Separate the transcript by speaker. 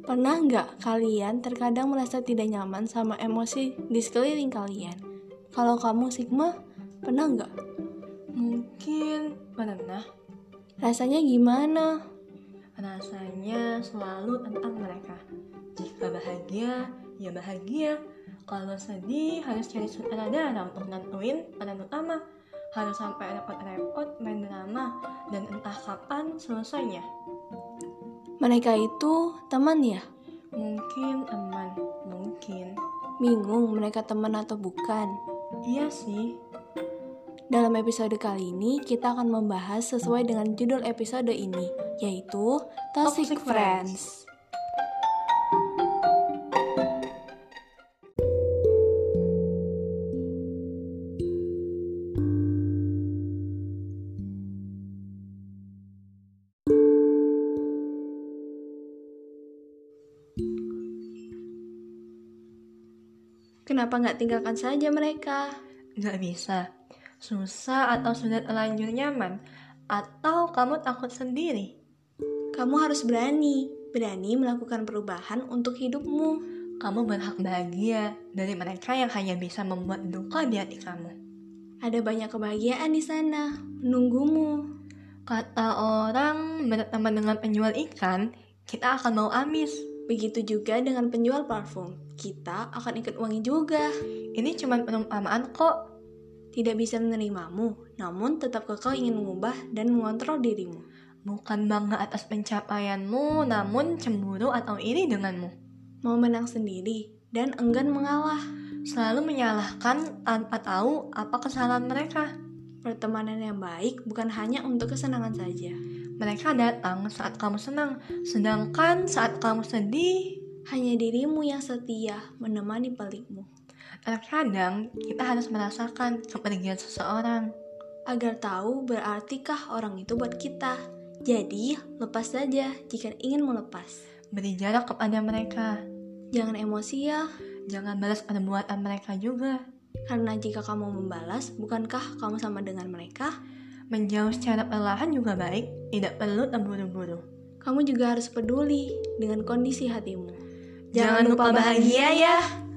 Speaker 1: Pernah nggak kalian terkadang merasa tidak nyaman sama emosi di sekeliling kalian? Kalau kamu Sigma, pernah nggak?
Speaker 2: Mungkin pernah
Speaker 1: Rasanya gimana?
Speaker 2: rasanya selalu tentang mereka. Jika bahagia, ya bahagia. Kalau sedih, harus cari sutradara untuk nentuin peran utama. Harus sampai repot-repot main drama dan entah kapan selesainya.
Speaker 1: Mereka itu teman ya?
Speaker 2: Mungkin teman, mungkin.
Speaker 1: Bingung mereka teman atau bukan?
Speaker 2: Iya sih,
Speaker 1: Dalam episode kali ini, kita akan membahas sesuai dengan judul episode ini, yaitu Toxic,
Speaker 2: Toxic
Speaker 1: Friends.
Speaker 2: Friends.
Speaker 1: Kenapa nggak tinggalkan saja mereka?
Speaker 2: nggak bisa. Susah atau sudah terlanjur nyaman. Atau kamu takut sendiri.
Speaker 1: Kamu harus berani, berani melakukan perubahan untuk hidupmu.
Speaker 2: Kamu berhak bahagia dari mereka yang hanya bisa membuat duka di hati kamu.
Speaker 1: Ada banyak kebahagiaan di sana, menunggumu.
Speaker 2: Kata orang berteman dengan penjual ikan, kita akan mau amis.
Speaker 1: Begitu juga dengan penjual parfum, kita akan ikut wangi juga.
Speaker 2: Ini cuma perumpamaan kok.
Speaker 1: Tidak bisa menerimamu, namun tetap kekal ingin mengubah dan mengontrol dirimu.
Speaker 2: Bukan bangga atas pencapaianmu, namun cemburu atau iri denganmu.
Speaker 1: Mau menang sendiri dan enggan mengalah.
Speaker 2: Selalu menyalahkan tanpa tahu apa kesalahan mereka.
Speaker 1: Pertemanan yang baik bukan hanya untuk kesenangan saja.
Speaker 2: Mereka datang saat kamu senang, sedangkan saat kamu sedih,
Speaker 1: Hanya dirimu yang setia menemani pelikmu.
Speaker 2: Terkadang kita harus merasakan kepergian seseorang.
Speaker 1: Agar tahu berartikah orang itu buat kita. Jadi, lepas saja jika ingin melepas.
Speaker 2: Beri jarak kepada mereka.
Speaker 1: Jangan emosi ya,
Speaker 2: Jangan balas perbuatan mereka juga.
Speaker 1: karena jika kamu membalas, bukankah kamu sama dengan mereka?
Speaker 2: Menjauh secara perlahan juga baik, tidak perlu terburu-buru.
Speaker 1: Kamu juga harus peduli dengan kondisi hatimu.
Speaker 2: Jangan lupa bahagia ya.